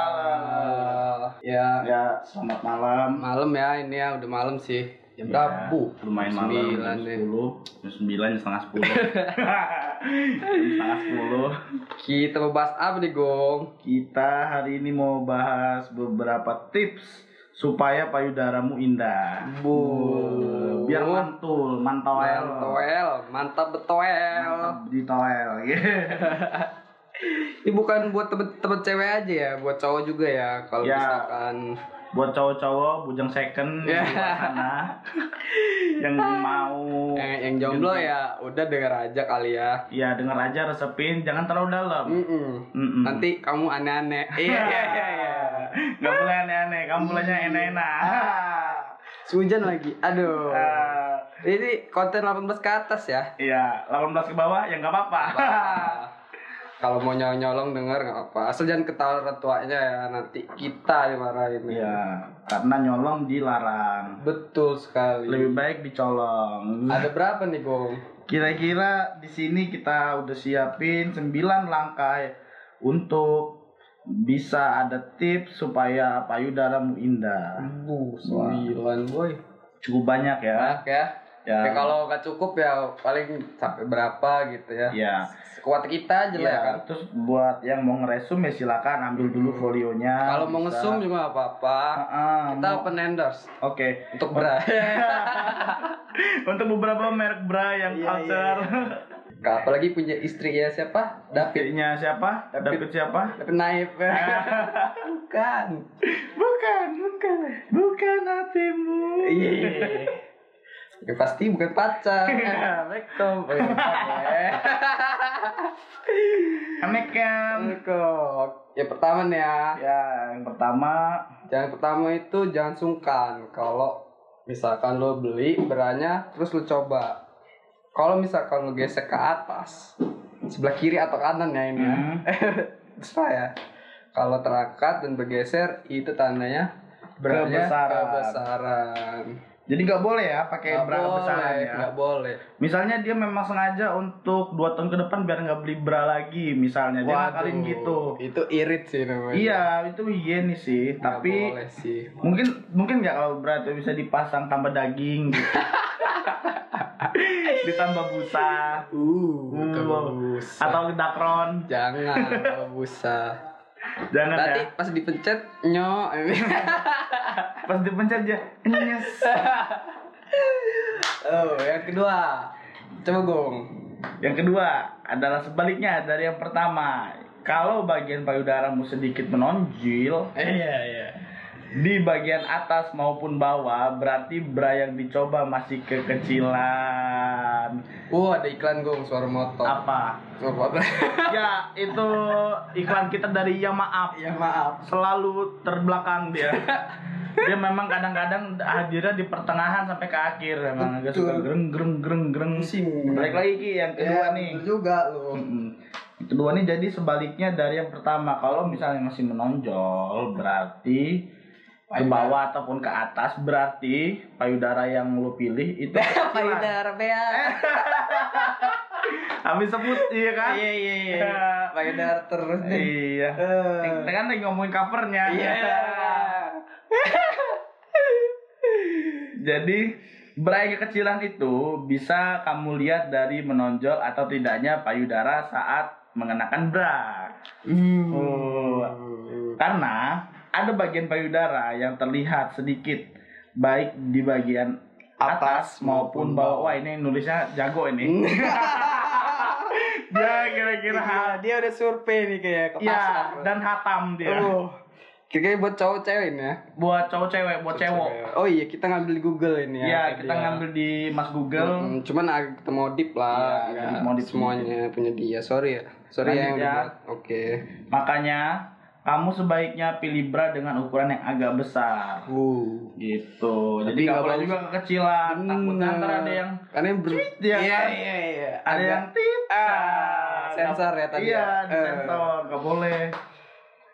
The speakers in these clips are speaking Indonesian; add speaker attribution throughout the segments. Speaker 1: Awal. Ya,
Speaker 2: Ya, selamat malam.
Speaker 1: malam ya ini ya udah malam sih. Jam
Speaker 2: Ya,
Speaker 1: berapa?
Speaker 2: Lumayan malam,
Speaker 1: Sembilan ya.
Speaker 2: jam
Speaker 1: deh.
Speaker 2: 10. Jam 9, jam setengah 10. jam setengah 10.
Speaker 1: Kita mau bahas apa nih, Gong?
Speaker 2: Kita hari ini mau bahas beberapa tips supaya payudaramu indah.
Speaker 1: Bu.
Speaker 2: Biar mantul, mantoel.
Speaker 1: Toel, mantap betoel.
Speaker 2: Mantap Di toel.
Speaker 1: Ini bukan buat temen-temen cewek aja ya, buat cowok juga ya. Kalau
Speaker 2: Ya.
Speaker 1: misalkan
Speaker 2: Buat cowok-cowok, bujang second
Speaker 1: Ya.
Speaker 2: di luar sana. yang mau
Speaker 1: yang, yang Oh, jomblo ya, udah denger aja kali ya.
Speaker 2: Ya denger aja resepin, jangan terlalu dalam.
Speaker 1: Mm-mm.
Speaker 2: Mm-mm.
Speaker 1: Mm. Nanti kamu aneh-aneh. Iya, iya, iya, iya.
Speaker 2: Nggak boleh aneh-aneh, kamu bolehnya enak-enak.
Speaker 1: Ah. Sehujan lagi. Aduh.
Speaker 2: Ah,
Speaker 1: Ini konten 18 ke atas ya.
Speaker 2: Iya, 18 ke bawah ya nggak apa-apa.
Speaker 1: Kalau mau nyolong-nyolong denger nggak apa. Asal jangan ketawa tuanya ya nanti kita dimarahin. ya.
Speaker 2: Iya, karena nyolong dilarang.
Speaker 1: Betul sekali.
Speaker 2: Lebih baik dicolong.
Speaker 1: Ada berapa nih, Gong?
Speaker 2: Kira-kira di sini kita udah siapin 9 langkah untuk bisa ada tips supaya payudaramu indah.
Speaker 1: Bu, sembilan, boy.
Speaker 2: Cukup banyak ya.
Speaker 1: Banyak ya.
Speaker 2: Ya.
Speaker 1: Ya, kalau nggak cukup ya paling sampai berapa gitu ya.
Speaker 2: Iya.
Speaker 1: Sekuat kita aja lah ya
Speaker 2: Iya,
Speaker 1: kan. Hmm.
Speaker 2: Terus buat yang mau ngeresum ya silakan ambil dulu folionya.
Speaker 1: Kalau mau
Speaker 2: bisa.
Speaker 1: ngesum juga nggak apa-apa.
Speaker 2: Ah,
Speaker 1: Kita
Speaker 2: mau-
Speaker 1: open endorse
Speaker 2: Oke.
Speaker 1: untuk bra.
Speaker 2: Untuk beberapa merek bra yang
Speaker 1: Iya,
Speaker 2: culture.
Speaker 1: Apalagi punya istri ya siapa? David.
Speaker 2: Dapitnya siapa?
Speaker 1: Dapit.
Speaker 2: Dapit siapa?
Speaker 1: David Naif. Bukan.
Speaker 2: bukan, bukan. Bukan hatimu.
Speaker 1: Iya.
Speaker 2: Iya.
Speaker 1: Ya pasti bukan pacar. Oh, iya, Assalamualaikum. ya.
Speaker 2: Amikam.
Speaker 1: Assalamualaikum. Ya pertama nih ya.
Speaker 2: Ya, yang pertama
Speaker 1: Yang pertama itu jangan sungkan kalau misalkan lo beli beranya terus lo coba. Kalau misalkan lo gesek ke atas sebelah kiri atau kanan ya ini ya.
Speaker 2: Hmm.
Speaker 1: Terserah ya. Kalau terangkat dan bergeser itu tandanya beranya
Speaker 2: Kebesaran.
Speaker 1: kebesaran.
Speaker 2: jadi nggak boleh ya pakai
Speaker 1: Nggak
Speaker 2: bra besaran
Speaker 1: boleh,
Speaker 2: ya.
Speaker 1: nggak boleh.
Speaker 2: Misalnya dia memang sengaja untuk dua tahun ke depan biar nggak beli bra lagi misalnya dia ngakalin
Speaker 1: Waduh,
Speaker 2: gitu.
Speaker 1: Itu irit sih namanya.
Speaker 2: Iya, itu higienis sih,
Speaker 1: Nggak
Speaker 2: tapi
Speaker 1: boleh sih. Uh,
Speaker 2: mungkin mungkin nggak kalau berat itu bisa dipasang tambah daging gitu. ditambah busa
Speaker 1: Uh,
Speaker 2: Uh,
Speaker 1: busa.
Speaker 2: atau dakron
Speaker 1: jangan kalau busa.
Speaker 2: jangan
Speaker 1: Nanti
Speaker 2: ya
Speaker 1: pas dipencet nyo.
Speaker 2: pas ya, dipencet aja nyes
Speaker 1: oh, yang kedua. Coba gong.
Speaker 2: yang kedua adalah sebaliknya dari yang pertama kalau bagian payudaramu sedikit menonjol
Speaker 1: Iya, iya.
Speaker 2: di bagian atas maupun bawah berarti bra yang dicoba masih kekecilan
Speaker 1: Uh, ada iklan gong suara motor.
Speaker 2: apa
Speaker 1: Suara motor.
Speaker 2: ya itu iklan kita dari ya maaf
Speaker 1: ya maaf.
Speaker 2: selalu terbelakang dia. dia memang kadang-kadang hadirnya di pertengahan sampai ke akhir emang agak suka
Speaker 1: Betul.
Speaker 2: greng greng greng greng.
Speaker 1: Pusing.
Speaker 2: Balik lagi Ki, yang kedua
Speaker 1: Ya,
Speaker 2: nih.
Speaker 1: betul juga lo.
Speaker 2: Mm-mm. Yang kedua nih jadi sebaliknya dari yang pertama. Kalau misalnya masih menonjol berarti ke
Speaker 1: Payudara.
Speaker 2: bawah ataupun ke atas berarti payudara yang lu pilih itu kekecilan.
Speaker 1: Payudara Bea.
Speaker 2: Eh, Habis sebut iya kan?
Speaker 1: Iya, iya, iya. Payudara terus nih.
Speaker 2: ah. Iya.
Speaker 1: Eh. iya.
Speaker 2: Kita kan lagi ngomongin covernya. Jadi berai kekecilan itu bisa kamu lihat dari menonjol atau tidaknya payudara saat mengenakan bra.
Speaker 1: Hmm.
Speaker 2: Oh. Karena ada bagian payudara yang terlihat sedikit baik di bagian atas,
Speaker 1: Atas
Speaker 2: maupun
Speaker 1: maupun
Speaker 2: bawah.
Speaker 1: bawah. Hmm.
Speaker 2: Wah, ini nulisnya jago ini. Oh. Dia kira-kira
Speaker 1: Gila, dia udah survei nih kayak ke
Speaker 2: ya
Speaker 1: pasar.
Speaker 2: Iya. dan hatam dia.
Speaker 1: Uh, kira-kira buat cowok cewek ini ya.
Speaker 2: Buat cowok cewek, buat cewek.
Speaker 1: Oh iya, kita ngambil di Google ini ya.
Speaker 2: Ya,
Speaker 1: tadi
Speaker 2: kita
Speaker 1: ya.
Speaker 2: ngambil di Mas Google.
Speaker 1: Mm, cuman agak ketemu deep lah.
Speaker 2: Iya,
Speaker 1: nggak
Speaker 2: agak modif
Speaker 1: semuanya punya dia. Sorry ya. Sorry ya
Speaker 2: Lanjut
Speaker 1: yang
Speaker 2: ya.
Speaker 1: dibuat. Oke.
Speaker 2: Makanya kamu sebaiknya pilih bra dengan ukuran yang agak besar.
Speaker 1: Uh.
Speaker 2: Gitu.
Speaker 1: Tapi
Speaker 2: Jadi nggak
Speaker 1: nggak
Speaker 2: boleh
Speaker 1: bagus. Hmm.
Speaker 2: juga kekecilan. Takutnya ntar ada yang
Speaker 1: karena yang ber...
Speaker 2: ya
Speaker 1: Iya,
Speaker 2: kan?
Speaker 1: iya, iya.
Speaker 2: ada yang tit.
Speaker 1: Ah, sensor ya tadi
Speaker 2: Iya,
Speaker 1: ya?
Speaker 2: di
Speaker 1: Eh.
Speaker 2: sensor nggak boleh.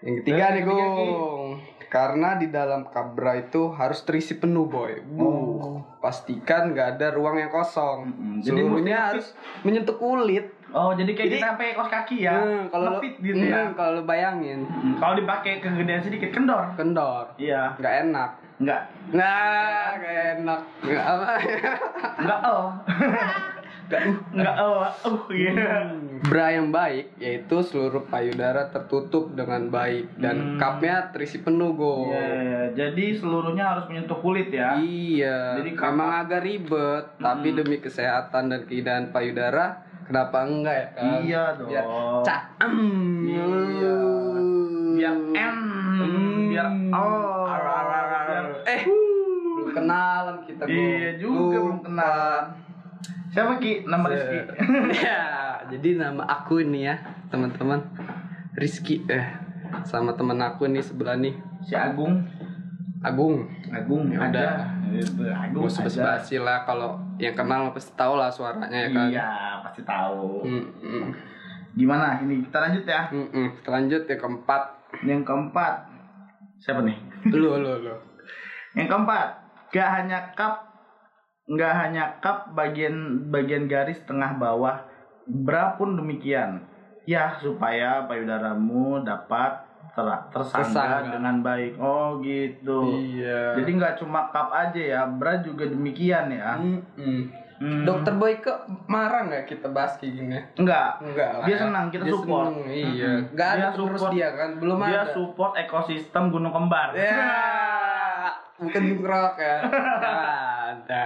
Speaker 1: Yang ketiga
Speaker 2: Terus
Speaker 1: nih,
Speaker 2: yang ketiga, Ki.
Speaker 1: Gong. Karena di dalam kabra itu harus terisi penuh, boy. Bu,
Speaker 2: Oh.
Speaker 1: pastikan nggak ada ruang yang kosong.
Speaker 2: Mm-mm. Jadi
Speaker 1: Seluruhnya
Speaker 2: mesti-
Speaker 1: harus menyentuh kulit.
Speaker 2: Oh, jadi kayak
Speaker 1: Jadi-
Speaker 2: kita sampai kos kaki ya.
Speaker 1: Hmm, kalau lu-
Speaker 2: Ngefit gitu ya.
Speaker 1: Hmm, kalau lu bayangin
Speaker 2: Hmm, Kalau dipakai kegedean sedikit kendor.
Speaker 1: kendor
Speaker 2: Iya,
Speaker 1: nggak enak
Speaker 2: enggak.
Speaker 1: nah nggak enak nggak apa
Speaker 2: Enggak oh.
Speaker 1: nggak uh.
Speaker 2: Enggak oh. Uh, iya.
Speaker 1: Hmm. Bra yang baik yaitu seluruh payudara tertutup dengan baik dan
Speaker 2: Hmm.
Speaker 1: cupnya terisi penuh go.
Speaker 2: Iya, iya. jadi seluruhnya harus menyentuh kulit ya.
Speaker 1: Iya.
Speaker 2: Jadi cup-
Speaker 1: memang agak ribet, tapi
Speaker 2: Hmm.
Speaker 1: demi kesehatan dan keindahan payudara, kenapa enggak ya kan?
Speaker 2: Iya dong.
Speaker 1: Biar caem.
Speaker 2: Iya. Biar M,
Speaker 1: Hmm.
Speaker 2: biar O,
Speaker 1: Ar- ar- ar- ar-
Speaker 2: biar
Speaker 1: Eh, belum kenalan kita Go.
Speaker 2: Iya juga belum
Speaker 1: Lupa.
Speaker 2: kenal. Siapa Ki? Nama Rizky.
Speaker 1: ya, jadi nama aku ini ya, teman-teman. Rizky eh sama teman aku nih sebelah nih,
Speaker 2: Si Agung.
Speaker 1: Agung.
Speaker 2: Agung
Speaker 1: Ya udah.
Speaker 2: ada. Eh, Agung
Speaker 1: Gak usah basi-basi lah kalau yang kenal pasti tahu lah suaranya ya kan.
Speaker 2: Iya, pasti tahu.
Speaker 1: Mm, mm,
Speaker 2: Gimana ini? Kita lanjut ya.
Speaker 1: mm, mm. Lanjut yang keempat.
Speaker 2: Yang keempat. Siapa nih?
Speaker 1: Lu lu lu.
Speaker 2: Yang keempat, gak hanya cup nggak hanya cup bagian bagian garis tengah bawah bra pun demikian. Ya, supaya payudaramu dapat ter- tersangga
Speaker 1: Tersangga.
Speaker 2: dengan baik. Oh, gitu.
Speaker 1: Iya.
Speaker 2: Jadi nggak cuma cup aja ya, bra juga demikian ya.
Speaker 1: Mm, mm.
Speaker 2: Hmm.
Speaker 1: Dokter Boyke marah nggak kita bahas kayak gini?
Speaker 2: Enggak.
Speaker 1: Enggak lah.
Speaker 2: Dia senang, kita support.
Speaker 1: senang, iya.
Speaker 2: Mm-mm.
Speaker 1: Nggak ada
Speaker 2: Dia
Speaker 1: terus
Speaker 2: support.
Speaker 1: dia kan, belum
Speaker 2: Dia
Speaker 1: ada.
Speaker 2: support ekosistem Gunung Kembar.
Speaker 1: Ya. Bukan gerak ya. Nggak ada.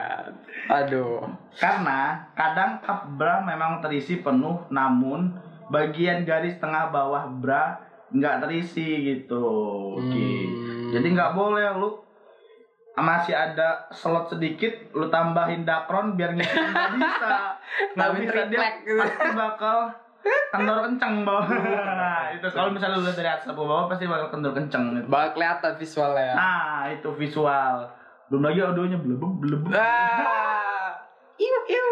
Speaker 1: Aduh.
Speaker 2: Karena kadang cup bra memang terisi penuh, namun bagian garis tengah bawah bra nggak terisi gitu. Oke.
Speaker 1: Hmm.
Speaker 2: Jadi nggak boleh lu masih ada slot sedikit, lu tambahin dakron biar ngisi nggak bisa. Nggak
Speaker 1: Tambahin
Speaker 2: bisa dia
Speaker 1: triplek gitu. Iya,
Speaker 2: pasti bakal kendor kenceng bawah. Nah, itu kalau misalnya lu lihat dari atas ke bawah pasti bakal kendor kenceng. Gitu.
Speaker 1: Bakal kelihatan visualnya. ya.
Speaker 2: Nah, itu visual. Belum lagi audionya belebeb belebeb.
Speaker 1: Ah. Iu iu.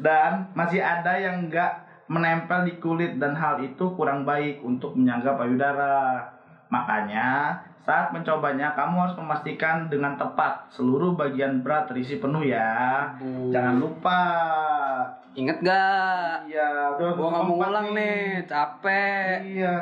Speaker 2: dan masih ada yang nggak menempel di kulit dan hal itu kurang baik untuk menyangga payudara. Makanya saat mencobanya kamu harus memastikan dengan tepat seluruh bagian bra terisi penuh ya. Jangan lupa.
Speaker 1: Ingat gak?
Speaker 2: Iya, udah
Speaker 1: Gua nggak mau
Speaker 2: keempat
Speaker 1: ngulang nih, capek.
Speaker 2: Iya.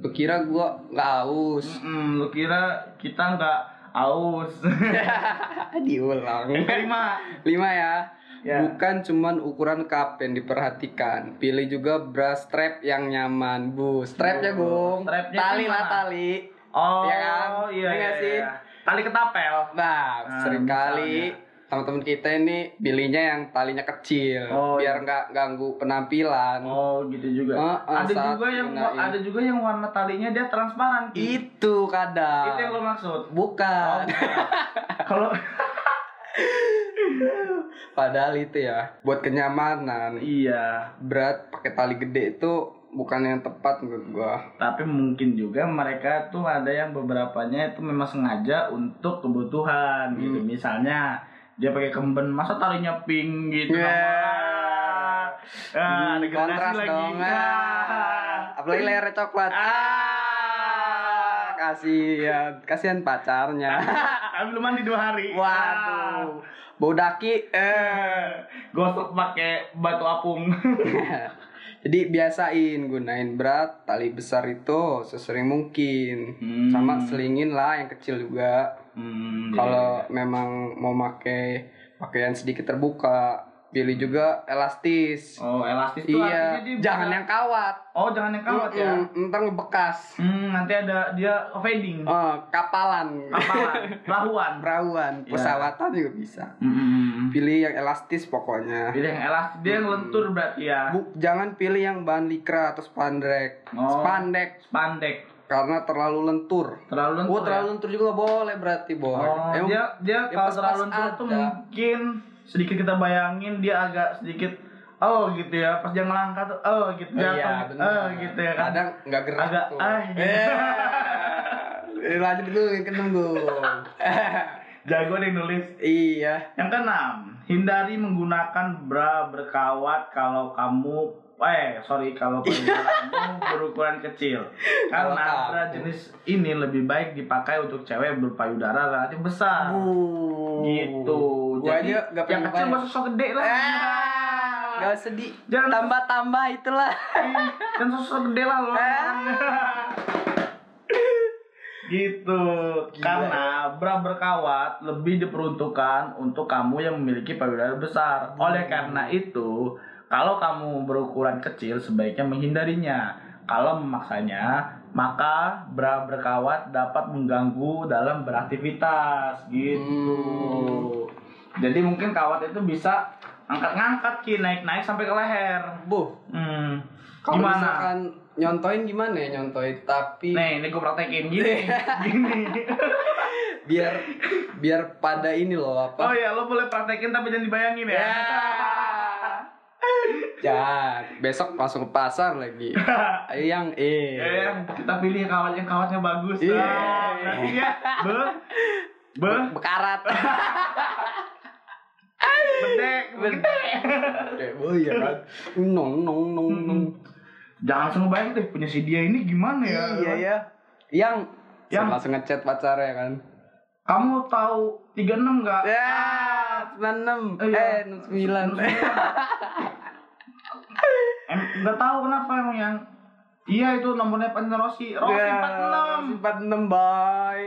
Speaker 1: Lu kira gua nggak haus?
Speaker 2: Mm, lu kira kita nggak aus? Iya,
Speaker 1: Diulang.
Speaker 2: Terima.
Speaker 1: Lima ya.
Speaker 2: Ya.
Speaker 1: Bukan cuman ukuran cup yang diperhatikan, pilih juga bra strap yang nyaman, bu. Strapnya
Speaker 2: Oh,
Speaker 1: gong,
Speaker 2: strapnya
Speaker 1: tali
Speaker 2: yang
Speaker 1: lah
Speaker 2: mana?
Speaker 1: tali.
Speaker 2: Oh,
Speaker 1: Iya kan?
Speaker 2: iya,
Speaker 1: Iya nggak
Speaker 2: iya,
Speaker 1: sih?
Speaker 2: iya. Tali ketapel.
Speaker 1: Nah,
Speaker 2: Nah,
Speaker 1: seringkali teman-teman kita ini pilihnya yang talinya kecil,
Speaker 2: Oh,
Speaker 1: biar nggak ganggu penampilan.
Speaker 2: Oh, gitu juga.
Speaker 1: Heeh,
Speaker 2: ada
Speaker 1: saat
Speaker 2: juga yang
Speaker 1: gunain.
Speaker 2: ada juga yang warna talinya dia transparan. Ki.
Speaker 1: Itu kadang.
Speaker 2: Itu yang lo maksud. Oh,
Speaker 1: Bukan.
Speaker 2: Kalau
Speaker 1: Padahal itu ya buat kenyamanan.
Speaker 2: iya,
Speaker 1: Berat pakai tali gede itu bukan yang tepat menurut gua.
Speaker 2: tapi mungkin juga mereka tuh ada yang beberapanya itu memang sengaja untuk kebutuhan gitu.
Speaker 1: Hmm.
Speaker 2: Misalnya dia pakai kemben, masa talinya pink gitu.
Speaker 1: Ya.
Speaker 2: Ah, Ah, ada
Speaker 1: Hmm, Kontras
Speaker 2: generasi lagi.
Speaker 1: dong.
Speaker 2: Ah.
Speaker 1: Ah. Apalagi layarnya coklat. Ah, kasihan, kasihan pacarnya.
Speaker 2: Tapi belum mandi dua hari. Ah.
Speaker 1: Waduh. Bau daki. Eh.
Speaker 2: Gosok pakai batu apung.
Speaker 1: Jadi biasain gunain berat tali besar itu sesering mungkin.
Speaker 2: Hmm.
Speaker 1: Sama selingin lah yang kecil juga.
Speaker 2: Hmm,
Speaker 1: Kalau memang mau pakai pakaian sedikit terbuka, pilih juga elastis.
Speaker 2: Oh, elastis tuh
Speaker 1: iya,
Speaker 2: artinya dia
Speaker 1: jangan
Speaker 2: bisa-
Speaker 1: yang kawat.
Speaker 2: Oh, jangan yang kawat ya.
Speaker 1: Mm-mm, Ntar ngebekas.
Speaker 2: Hmm, nanti ada dia fading.
Speaker 1: Eh, kapalan,
Speaker 2: Kapalan, pelahuan.
Speaker 1: perahuan,
Speaker 2: Iya.
Speaker 1: pesawatan juga bisa.
Speaker 2: Hmm.
Speaker 1: Pilih yang elastis pokoknya.
Speaker 2: Pilih yang elastis, dia yang lentur berarti ya.
Speaker 1: Bu, jangan pilih yang bahan likra atau spandek.
Speaker 2: Oh.
Speaker 1: Spandek
Speaker 2: Spandek.
Speaker 1: karena terlalu lentur.
Speaker 2: Terlalu lentur.
Speaker 1: oh, terlalu lentur juga nggak boleh berarti, Boy.
Speaker 2: ya? Oh,
Speaker 1: Emang-
Speaker 2: dia dia
Speaker 1: ya
Speaker 2: kalau
Speaker 1: pas-pas
Speaker 2: terlalu lentur tuh
Speaker 1: ada.
Speaker 2: mungkin sedikit kita bayangin dia agak sedikit oh gitu ya. Pas dia ngelangkah tuh oh gitu ya.
Speaker 1: Iya, benar.
Speaker 2: Oh gitu ya kan.
Speaker 1: Kadang nggak gerak
Speaker 2: Agak,
Speaker 1: tuh. Iya.
Speaker 2: ah, gitu.
Speaker 1: Eh, lanjut gue yang keenam gue.
Speaker 2: Jago deh nulis.
Speaker 1: iya.
Speaker 2: Yang keenam, hindari menggunakan bra berkawat kalau kamu eh sorry kalau payudaramu berukuran kecil.
Speaker 1: Kalau
Speaker 2: Karena bra
Speaker 1: kamu.
Speaker 2: jenis ini lebih baik dipakai untuk cewek berpayudara relatif besar.
Speaker 1: Bu.
Speaker 2: Gitu.
Speaker 1: Gua
Speaker 2: Jadi
Speaker 1: aja nggak Eh,
Speaker 2: yang
Speaker 1: pengen
Speaker 2: kecil
Speaker 1: banyak.
Speaker 2: gak sosok gede lah.
Speaker 1: Ah.
Speaker 3: Gak usah di
Speaker 2: Jangan-
Speaker 3: tambah-tambah itulah.
Speaker 2: dan Kan sosok gede lah lo
Speaker 1: Ah.
Speaker 2: gitu karena bra berkawat lebih diperuntukkan untuk kamu yang memiliki payudara besar oleh
Speaker 1: Hmm.
Speaker 2: karena itu kalau kamu berukuran kecil sebaiknya menghindarinya kalau memaksanya maka bra berkawat dapat mengganggu dalam beraktivitas gitu
Speaker 1: Hmm.
Speaker 2: jadi mungkin kawat itu bisa angkat-ngangkat ki naik-naik sampai ke leher
Speaker 1: Bu,
Speaker 2: Hmm.
Speaker 1: kalau
Speaker 2: Gimana?
Speaker 1: misalkan nyontoin gimana ya nyontoin tapi
Speaker 2: Nih, ini gue praktekin gini. gini.
Speaker 1: biar biar pada ini loh
Speaker 2: Oh
Speaker 1: apa?
Speaker 2: ya, lo boleh praktekin tapi jangan dibayangin ya.
Speaker 3: Ya.
Speaker 1: Jangan. Besok langsung ke pasar lagi. yang eh.
Speaker 2: Eh, yang kita pilih kawan yang kawannya bagus.
Speaker 1: Iya.
Speaker 2: Nah, Nanti ya, be, be,
Speaker 3: Bekarat.
Speaker 2: bedek, bedek.
Speaker 1: Oke, Oh iya kan. Nong nong nong
Speaker 2: Hmm.
Speaker 1: nong.
Speaker 2: Jangan langsung bayangin deh punya si dia ini gimana ya.
Speaker 1: Iya ya. Yang
Speaker 2: Yang-
Speaker 1: langsung ngechat pacarnya kan.
Speaker 2: Kamu tahu 36 enggak?
Speaker 1: Ya, 96.
Speaker 2: Iya.
Speaker 1: Eh, 69.
Speaker 2: Em, enggak tahu kenapa emang yang Iya itu nomornya Pak Rossi. Rossi 46.
Speaker 1: 46 Iya, bye.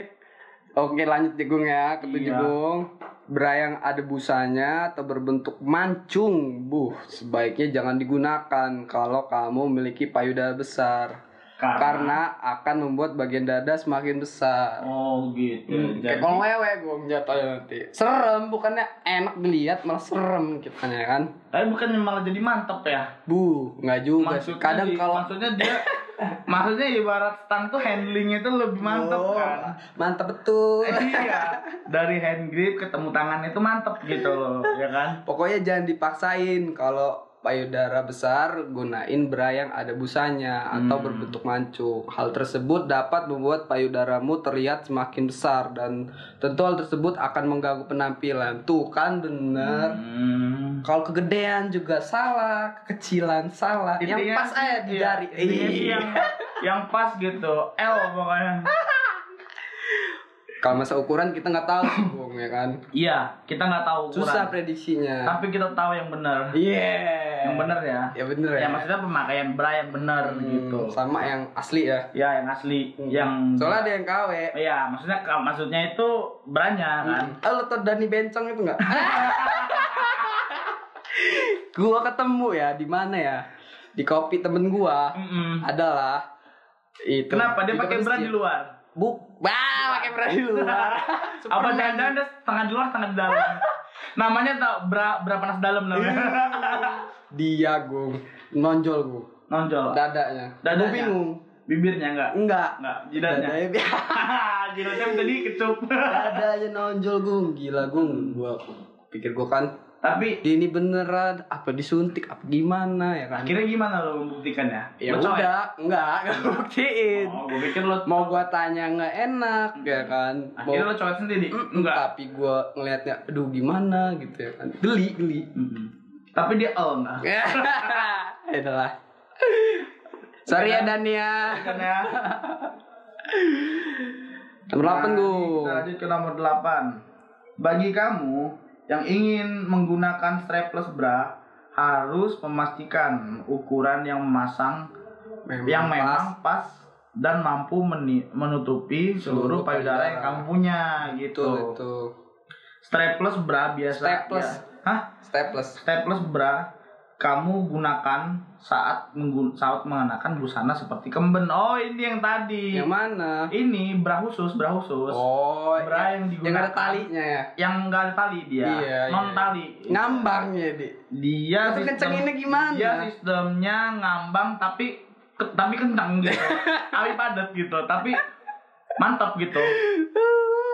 Speaker 1: Oke lanjut Jegung ya ke
Speaker 2: Iya.
Speaker 1: Jegung. Berayang ada busanya atau berbentuk mancung, buh sebaiknya jangan digunakan kalau kamu memiliki payudara besar karena akan membuat bagian dada semakin besar.
Speaker 2: Oh gitu.
Speaker 1: Hmm, kayak
Speaker 2: Jadi-
Speaker 1: kalau wewe gue jatuhnya nanti. Serem bukannya enak dilihat malah serem gitu kan, ya kan.
Speaker 2: Tapi bukannya malah jadi mantep ya?
Speaker 1: Bu, nggak juga. sih.
Speaker 2: Maksudnya
Speaker 1: Kadang
Speaker 2: di-
Speaker 1: kalau
Speaker 2: maksudnya dia maksudnya ibarat stang tuh handlingnya tuh lebih mantep
Speaker 1: Oh,
Speaker 2: kan?
Speaker 1: Mantep betul.
Speaker 2: iya. Dari hand grip ketemu tangan itu mantep gitu loh, ya kan?
Speaker 1: Pokoknya jangan dipaksain kalau payudara besar gunain bra yang ada busanya atau
Speaker 2: Hmm.
Speaker 1: berbentuk mancung. Hal tersebut dapat membuat payudaramu terlihat semakin besar dan tentu hal tersebut akan mengganggu penampilan. Tuh kan bener.
Speaker 2: Hmm.
Speaker 1: Kalau kegedean juga salah, kekecilan salah. yang
Speaker 2: Intinya
Speaker 1: pas
Speaker 2: sih-
Speaker 1: aja di
Speaker 2: iya,
Speaker 1: jari.
Speaker 2: intinya sih
Speaker 1: Ih.
Speaker 2: yang yang pas gitu. L pokoknya.
Speaker 1: Kalau masa ukuran kita nggak tahu, sih, Bung, ya kan.
Speaker 2: iya, kita nggak tahu ukuran.
Speaker 1: Susah prediksinya.
Speaker 2: Tapi kita tahu yang benar.
Speaker 1: Iya.
Speaker 2: Yang benar ya.
Speaker 1: Ya bener ya.
Speaker 2: Ya maksudnya pemakaian bra yang benar
Speaker 1: Hmm,
Speaker 2: gitu.
Speaker 1: Sama yang asli ya.
Speaker 2: Ya yang asli, yang
Speaker 1: Soalnya ada yang KW.
Speaker 2: Iya, maksudnya maksudnya itu branya kan.
Speaker 1: Eh, lo tau Dani Bencong itu nggak? gua ketemu ya di mana ya? Di kopi temen gua
Speaker 2: Mm-mm.
Speaker 1: adalah itu.
Speaker 2: Hmm. Kenapa dia
Speaker 1: Iya. Itu
Speaker 2: pakai bra
Speaker 1: masjid.
Speaker 2: di luar?
Speaker 1: Bu, wah pakai bra di luar.
Speaker 2: Apa jangan-jangan dia setengah di luar, setengah di dalam? Namanya tak bra bra panas dalam
Speaker 1: Iya.
Speaker 2: namanya.
Speaker 1: Dia gung nonjol gua
Speaker 2: Nonjol.
Speaker 1: dadanya.
Speaker 2: Dadanya.
Speaker 1: Gua bingung.
Speaker 2: Bibirnya enggak?
Speaker 1: Enggak.
Speaker 2: Enggak, jidatnya.
Speaker 1: Dadanya,
Speaker 2: jidatnya tadi kecup.
Speaker 1: dadanya nonjol gung gila gung. Gua pikir gua kan
Speaker 2: Tapi
Speaker 1: dia ini beneran apa disuntik apa gimana ya kan?
Speaker 2: akhirnya gimana lo membuktikannya?
Speaker 1: Ya
Speaker 2: Lo cowok
Speaker 1: udah, enggak, enggak buktiin.
Speaker 2: Oh, gue pikir lo
Speaker 1: mau gua tanya nggak enak ya kan mau
Speaker 2: akhirnya lo cowok sendiri.
Speaker 1: enggak tapi gua ngelihatnya aduh gimana gitu ya kan geli geli
Speaker 2: Mm-mm. Tapi dia oh enggak.
Speaker 1: ya adalah sorry ya Dania
Speaker 2: Kan ya.
Speaker 1: nomor delapan
Speaker 2: Nah, Kita
Speaker 1: gua
Speaker 2: lanjut ke nomor 8. Bagi kamu yang ingin menggunakan strapless bra harus memastikan ukuran yang memasang yang memang pas dan mampu meni- menutupi
Speaker 1: Seluruh
Speaker 2: seluruh
Speaker 1: payudara.
Speaker 2: payudara yang kamu punya
Speaker 1: itu
Speaker 2: gitu.
Speaker 1: itu
Speaker 2: Strapless bra biasa.
Speaker 1: Strapless.
Speaker 2: ya. Hah?
Speaker 1: stepless
Speaker 2: Strapless bra kamu gunakan saat menggun- saat mengenakan busana seperti kemben. Oh, ini yang tadi.
Speaker 1: yang mana
Speaker 2: Ini bra khusus, bra khusus.
Speaker 1: oh
Speaker 2: bra
Speaker 1: ya.
Speaker 2: yang digunakan
Speaker 1: yang ada talinya ya
Speaker 2: yang nggak ada tali dia
Speaker 1: Iya,
Speaker 2: non
Speaker 1: iya.
Speaker 2: tali
Speaker 1: ngambang ya di
Speaker 2: dia
Speaker 1: Tapi
Speaker 2: sistem-
Speaker 1: kencenginnya gimana?
Speaker 2: dia sistemnya ngambang tapi ke- tapi kencang gitu tapi padat gitu tapi mantap gitu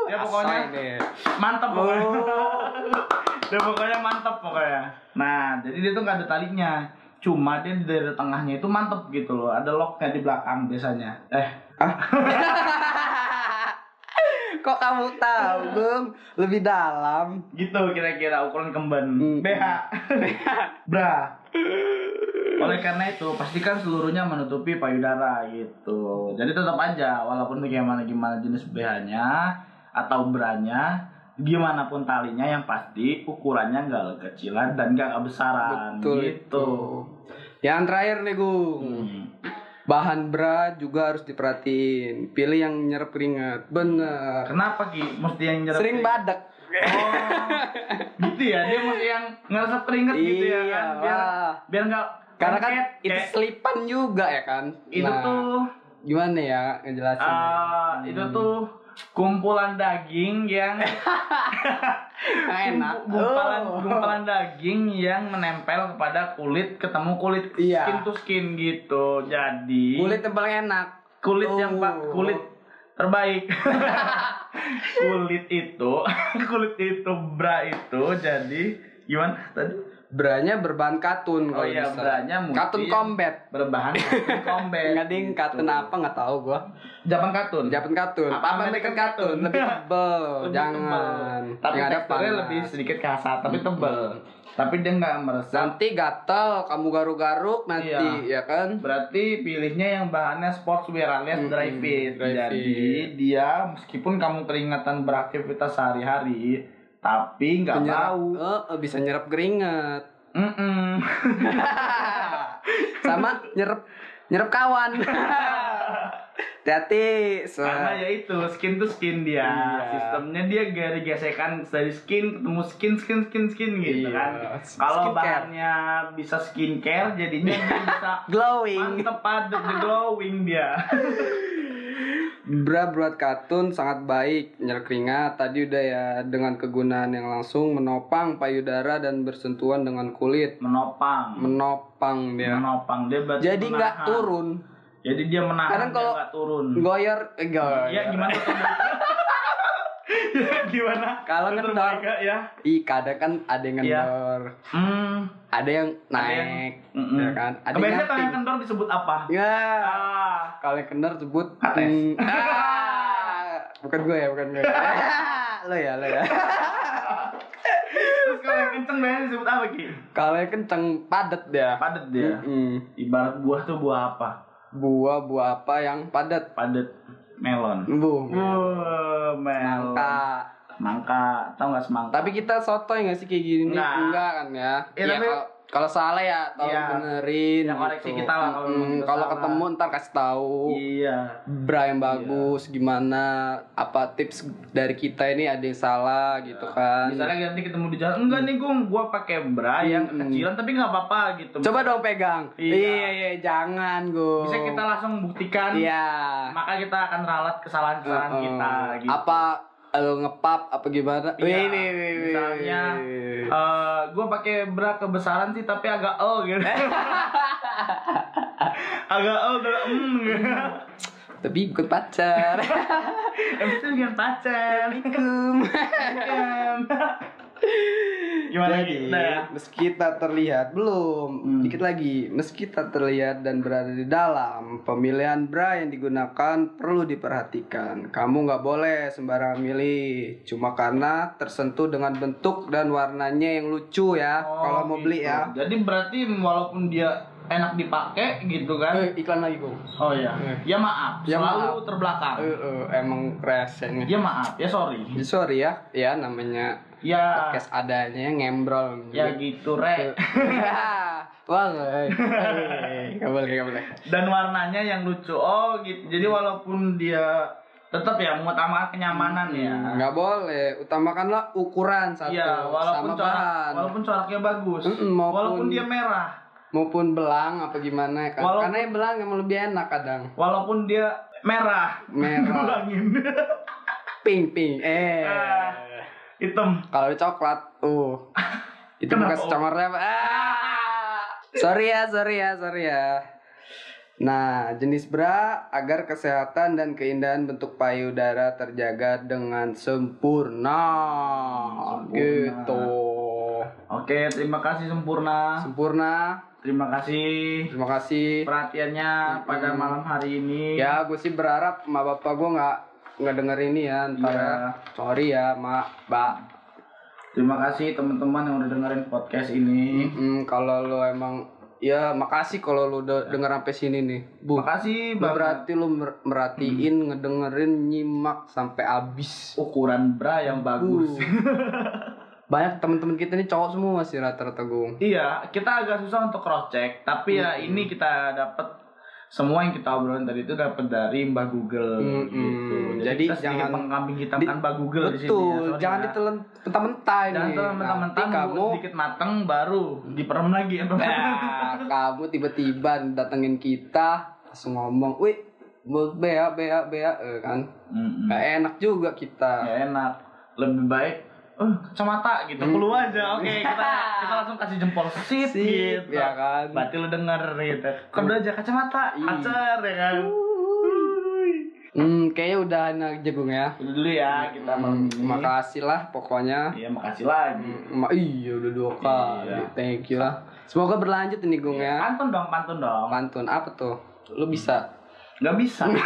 Speaker 2: ya pokoknya
Speaker 1: Asoy deh.
Speaker 2: mantap pokoknya
Speaker 1: Oh.
Speaker 2: ya pokoknya mantap pokoknya nah jadi dia tuh nggak ada talinya cuma dia dari tengahnya itu mantep gitu loh ada locknya di belakang biasanya eh
Speaker 1: kok kamu tahu
Speaker 2: Iya.
Speaker 1: Bung lebih dalam
Speaker 2: gitu kira-kira ukuran kemben
Speaker 1: Hmm.
Speaker 2: BH bra oleh karena itu pastikan seluruhnya menutupi payudara gitu jadi tetap aja walaupun bagaimana gimana jenis BH nya atau branya gimana pun talinya yang pasti ukurannya nggak kecilan dan nggak kebesaran
Speaker 1: Betul
Speaker 2: gitu.
Speaker 1: Yang terakhir nih Gung.
Speaker 2: Hmm.
Speaker 1: Bahan bra juga harus diperhatiin. Pilih yang nyerap keringat. Bener.
Speaker 2: Kenapa Ki? Mesti yang nyerap
Speaker 1: Sering
Speaker 2: keringat?
Speaker 1: badak.
Speaker 2: Oh, gitu ya, dia mesti yang ngeresap keringet gitu ya
Speaker 1: Iya,
Speaker 2: kan. Biar
Speaker 1: wah.
Speaker 2: biar nggak
Speaker 1: Karena kan
Speaker 2: lengket,
Speaker 1: itu
Speaker 2: kayak
Speaker 1: selipan juga ya kan.
Speaker 2: itu
Speaker 1: Nah,
Speaker 2: tuh
Speaker 1: gimana ya ngejelasinnya?
Speaker 2: eh, itu tuh kumpulan daging yang
Speaker 1: Nah, enak.
Speaker 2: Gumpu- Gumpalan,
Speaker 1: Oh.
Speaker 2: gumpalan daging yang menempel kepada kulit ketemu kulit
Speaker 1: Iya.
Speaker 2: skin to skin gitu. Jadi
Speaker 1: Kulit yang paling enak.
Speaker 2: kulit
Speaker 1: Oh.
Speaker 2: yang pak kulit terbaik. kulit itu kulit itu bra itu jadi gimana tadi
Speaker 1: Branya berbahan katun
Speaker 2: Oh
Speaker 1: kalau
Speaker 2: iya,
Speaker 1: bisa.
Speaker 2: branya mungkin- gitu.
Speaker 1: katun combat.
Speaker 2: berbahan katun combat.
Speaker 1: Enggak ding katun apa nggak tahu gua.
Speaker 2: Japan katun.
Speaker 1: Japan katun.
Speaker 2: Apa American katun?
Speaker 1: lebih tebel.
Speaker 2: Lebih
Speaker 1: Jangan.
Speaker 2: tebal. Tapi
Speaker 1: Yang ada
Speaker 2: teksturnya
Speaker 1: panas.
Speaker 2: lebih sedikit kasar tapi tebel. Tapi dia nggak meresap
Speaker 1: Nanti gatel, kamu garuk-garuk nanti ya
Speaker 2: Iya.
Speaker 1: kan?
Speaker 2: Berarti pilihnya yang bahannya sportswear alias
Speaker 1: Mm-mm,
Speaker 2: dry fit.
Speaker 1: dry
Speaker 2: Jadi
Speaker 1: fit.
Speaker 2: dia meskipun kamu keringatan beraktivitas sehari-hari, tapi nggak
Speaker 1: Penyerap-
Speaker 2: bau.
Speaker 1: Eh, eh, bisa nyerap keringat.
Speaker 2: Mm-mm.
Speaker 1: Sama nyerap nyerap kawan. Hati-hati. se-
Speaker 2: Karena ya itu skin to skin dia.
Speaker 1: Iya.
Speaker 2: Sistemnya dia dari gesekan dari skin ketemu skin skin skin skin gitu
Speaker 1: Iya.
Speaker 2: kan. Kalau
Speaker 1: Skincare.
Speaker 2: bahannya bisa skincare, jadinya dia bisa
Speaker 1: glowing.
Speaker 2: mantep padat the glowing dia.
Speaker 1: Bra buat katun sangat baik nyerap keringat tadi udah ya dengan kegunaan yang langsung menopang payudara dan bersentuhan dengan kulit
Speaker 2: Menopang.
Speaker 1: menopang dia
Speaker 2: Menopang dia berarti
Speaker 1: jadi nggak
Speaker 2: menahan.
Speaker 1: turun
Speaker 2: Jadi dia menahan
Speaker 1: Kadang
Speaker 2: dia
Speaker 1: kalau-
Speaker 2: nggak turun.
Speaker 1: goyor eh, goyor
Speaker 2: Ya gimana? tuh? Ya, gimana?
Speaker 1: Kalau
Speaker 2: Dokter
Speaker 1: kendor.
Speaker 2: Baika, ya.
Speaker 1: Ih, kadang kan ada yang
Speaker 2: Iya.
Speaker 1: kendor,
Speaker 2: Hmm.
Speaker 1: ada yang
Speaker 2: Ada yang-
Speaker 1: naik,
Speaker 2: Mm-mm.
Speaker 1: ya kan? Ada yang
Speaker 2: Kebiasaan kalau
Speaker 1: nyating.
Speaker 2: yang kendor disebut apa?
Speaker 1: Ya,
Speaker 2: Ah.
Speaker 1: kalau yang kendor sebut
Speaker 2: Ates.
Speaker 1: mm, ah. bukan gue ya, bukan gue. lo ya, lo ya.
Speaker 2: Terus kalau yang kenceng biasanya disebut apa ki?
Speaker 1: Kalau yang kenceng padat dia.
Speaker 2: Padet dia.
Speaker 1: Mm-mm.
Speaker 2: Ibarat buah tuh buah apa?
Speaker 1: Buah-buah apa yang padat?
Speaker 2: Padet melon.
Speaker 1: Bu,
Speaker 2: Oh, Wah, melon.
Speaker 1: mangga.
Speaker 2: Mangka. Tahu nggak semangka?
Speaker 1: Tapi kita sotoy nggak sih kayak gini? nih?
Speaker 2: Enggak.
Speaker 1: Enggak kan ya?
Speaker 2: Ya,
Speaker 1: Iya,
Speaker 2: tapi-
Speaker 1: kalau- kalau salah ya tolong
Speaker 2: Iya.
Speaker 1: benerin. gitu.
Speaker 2: Ya, koreksi kita lah kalau
Speaker 1: Mm-mm.
Speaker 2: memang kita
Speaker 1: Kalau
Speaker 2: salah.
Speaker 1: ketemu ntar kasih tahu.
Speaker 2: Iya.
Speaker 1: bra yang bagus gimana apa tips dari kita ini ada yang salah gitu kan
Speaker 2: Iya. Misalnya nanti ketemu di jalan, enggak nih gung, gua pakai bra yang kecilan tapi nggak apa-apa gitu.
Speaker 1: Hmm. coba dong pegang
Speaker 2: Iya.
Speaker 1: iya iya jangan gue
Speaker 2: Bisa kita langsung buktikan.
Speaker 1: iya
Speaker 2: maka kita akan ralat kesalahan-kesalahan
Speaker 1: Heeh.
Speaker 2: kita gitu.
Speaker 1: apa lo ngepap apa gimana
Speaker 2: Iya,
Speaker 1: Wih, wih, wih, wih,
Speaker 2: misalnya,
Speaker 1: wih.
Speaker 2: Eh, gue pakai bra kebesaran sih tapi agak el gitu. agak el dan em gitu.
Speaker 1: Hmm. tapi bukan pacar
Speaker 2: Abis itu dengan pacar.
Speaker 1: Kum.
Speaker 2: Gimana lagi?
Speaker 1: Jadi,
Speaker 2: Udah ya?
Speaker 1: meski tak terlihat belum,
Speaker 2: Hmm.
Speaker 1: dikit lagi. Meski tak terlihat dan berada di dalam, pemilihan bra yang digunakan perlu diperhatikan. Kamu nggak boleh sembarangan milih, cuma karena tersentuh dengan bentuk dan warnanya yang lucu ya.
Speaker 2: Oh,
Speaker 1: kalau mau beli
Speaker 2: gitu.
Speaker 1: ya.
Speaker 2: Jadi berarti walaupun dia enak dipakai gitu kan.
Speaker 1: iklan lagi gue.
Speaker 2: Oh iya. Ya maaf,
Speaker 1: Ya
Speaker 2: selalu
Speaker 1: maaf. Iya.
Speaker 2: terbelakang.
Speaker 1: eh, emang kresennya.
Speaker 2: Ya maaf, ya sorry.
Speaker 1: Sorry ya, ya namanya
Speaker 2: Ya
Speaker 1: podcast Iya. adanya ngembrol.
Speaker 2: ya gitu rek.
Speaker 1: Wah, eh, eh, nggak boleh, nggak boleh.
Speaker 2: dan warnanya yang lucu oh gitu jadi
Speaker 1: Iya.
Speaker 2: walaupun dia tetap ya mengutamakan kenyamanan ya
Speaker 1: nggak boleh utamakanlah ukuran Hmm, satu
Speaker 2: Iya,
Speaker 1: sama
Speaker 2: walaupun corak
Speaker 1: bahan
Speaker 2: walaupun coraknya bagus
Speaker 1: Mm-mm, maupun-
Speaker 2: walaupun dia merah
Speaker 1: maupun belang apa gimana kan
Speaker 2: Walaupun-
Speaker 1: karena yang belang emang lebih enak kadang
Speaker 2: walaupun dia merah
Speaker 1: merah
Speaker 2: ulangin
Speaker 1: pink pink eh
Speaker 2: Ah. hitam
Speaker 1: kalau coklat uh itu
Speaker 2: Kenapa,
Speaker 1: bekas
Speaker 2: Om?
Speaker 1: congornya Pak. ah. sorry ya sorry ya sorry ya Nah, jenis bra agar kesehatan dan keindahan bentuk payudara terjaga dengan sempurna.
Speaker 2: Hmm, Sempurna.
Speaker 1: Gitu.
Speaker 2: oke terima kasih sempurna
Speaker 1: Sempurna.
Speaker 2: terima kasih
Speaker 1: Terima kasih.
Speaker 2: perhatiannya pada malam hari ini
Speaker 1: Ya, gue sih berharap ma bapak gue nggak nggak denger ini ya ntar
Speaker 2: Iya.
Speaker 1: ya. Sorry ya, ma, mbak.
Speaker 2: terima kasih teman-teman yang udah dengerin podcast ini
Speaker 1: Mm, Hmm, kalau lo emang ya makasih kalau lu udah denger sampai sini nih. Bu,
Speaker 2: Makasih
Speaker 1: lu
Speaker 2: banget.
Speaker 1: berarti lu mer- merhatiin, ngedengerin, nyimak sampai abis.
Speaker 2: Ukuran bra yang bagus.
Speaker 1: Uh. Banyak teman-teman kita nih cowok semua sih rata-rata gue.
Speaker 2: Iya, kita agak susah untuk cross check, tapi ya
Speaker 1: Mm-mm.
Speaker 2: ini kita dapat semua yang kita obrolin tadi itu dapat dari Mbak Google
Speaker 1: Mm-mm.
Speaker 2: gitu.
Speaker 1: Jadi
Speaker 2: kita sedikit
Speaker 1: jangan-
Speaker 2: mengkambing hitamkan
Speaker 1: di-
Speaker 2: Mbak Google di sini. ya,
Speaker 1: Betul,
Speaker 2: sorry
Speaker 1: jangan
Speaker 2: ya.
Speaker 1: ditelan mentah-mentah ini. Nah,
Speaker 2: Jangan telan mentah-mentah,
Speaker 1: Nanti
Speaker 2: nunggu
Speaker 1: kamu
Speaker 2: sedikit mateng baru diperem lagi ya. Bang.
Speaker 1: Nah, kamu tiba-tiba datengin kita langsung ngomong, "Wih, buat bea bea bea eh, kan."
Speaker 2: Mm-mm.
Speaker 1: Nggak enak juga kita.
Speaker 2: Ya enak, lebih baik eh kacamata gitu,
Speaker 1: Mm.
Speaker 2: keluar aja. Oke, kita kita langsung kasih jempol sip,
Speaker 1: Sip,
Speaker 2: gitu.
Speaker 1: ya kan.
Speaker 2: Berarti lu denger gitu. Kedua aja kacamata,
Speaker 1: Ih.
Speaker 2: pacar ya kan.
Speaker 1: Hmm, kayaknya udah anak jagung ya.
Speaker 2: Udah dulu ya kita malam
Speaker 1: Hmm,
Speaker 2: ini.
Speaker 1: makasih lah pokoknya.
Speaker 2: Iya, makasih lagi.
Speaker 1: Hmm, ma- iya udah dua kali.
Speaker 2: Iya.
Speaker 1: Thank you lah. Semoga berlanjut ini Gung ya.
Speaker 2: Pantun dong, pantun dong.
Speaker 1: Pantun apa tuh? Lu bisa.
Speaker 2: Gak bisa. Eh,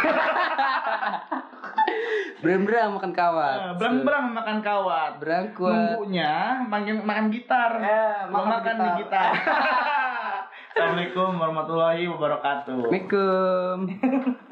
Speaker 1: Brem-brem makan kawat.
Speaker 2: Eh, Berang-berang makan kawat.
Speaker 1: Berangkuat.
Speaker 2: Nunggunya makin makan gitar.
Speaker 1: Eh,
Speaker 2: Lu makan di gitar. Assalamualaikum warahmatullahi wabarakatuh.
Speaker 1: Assalamualaikum.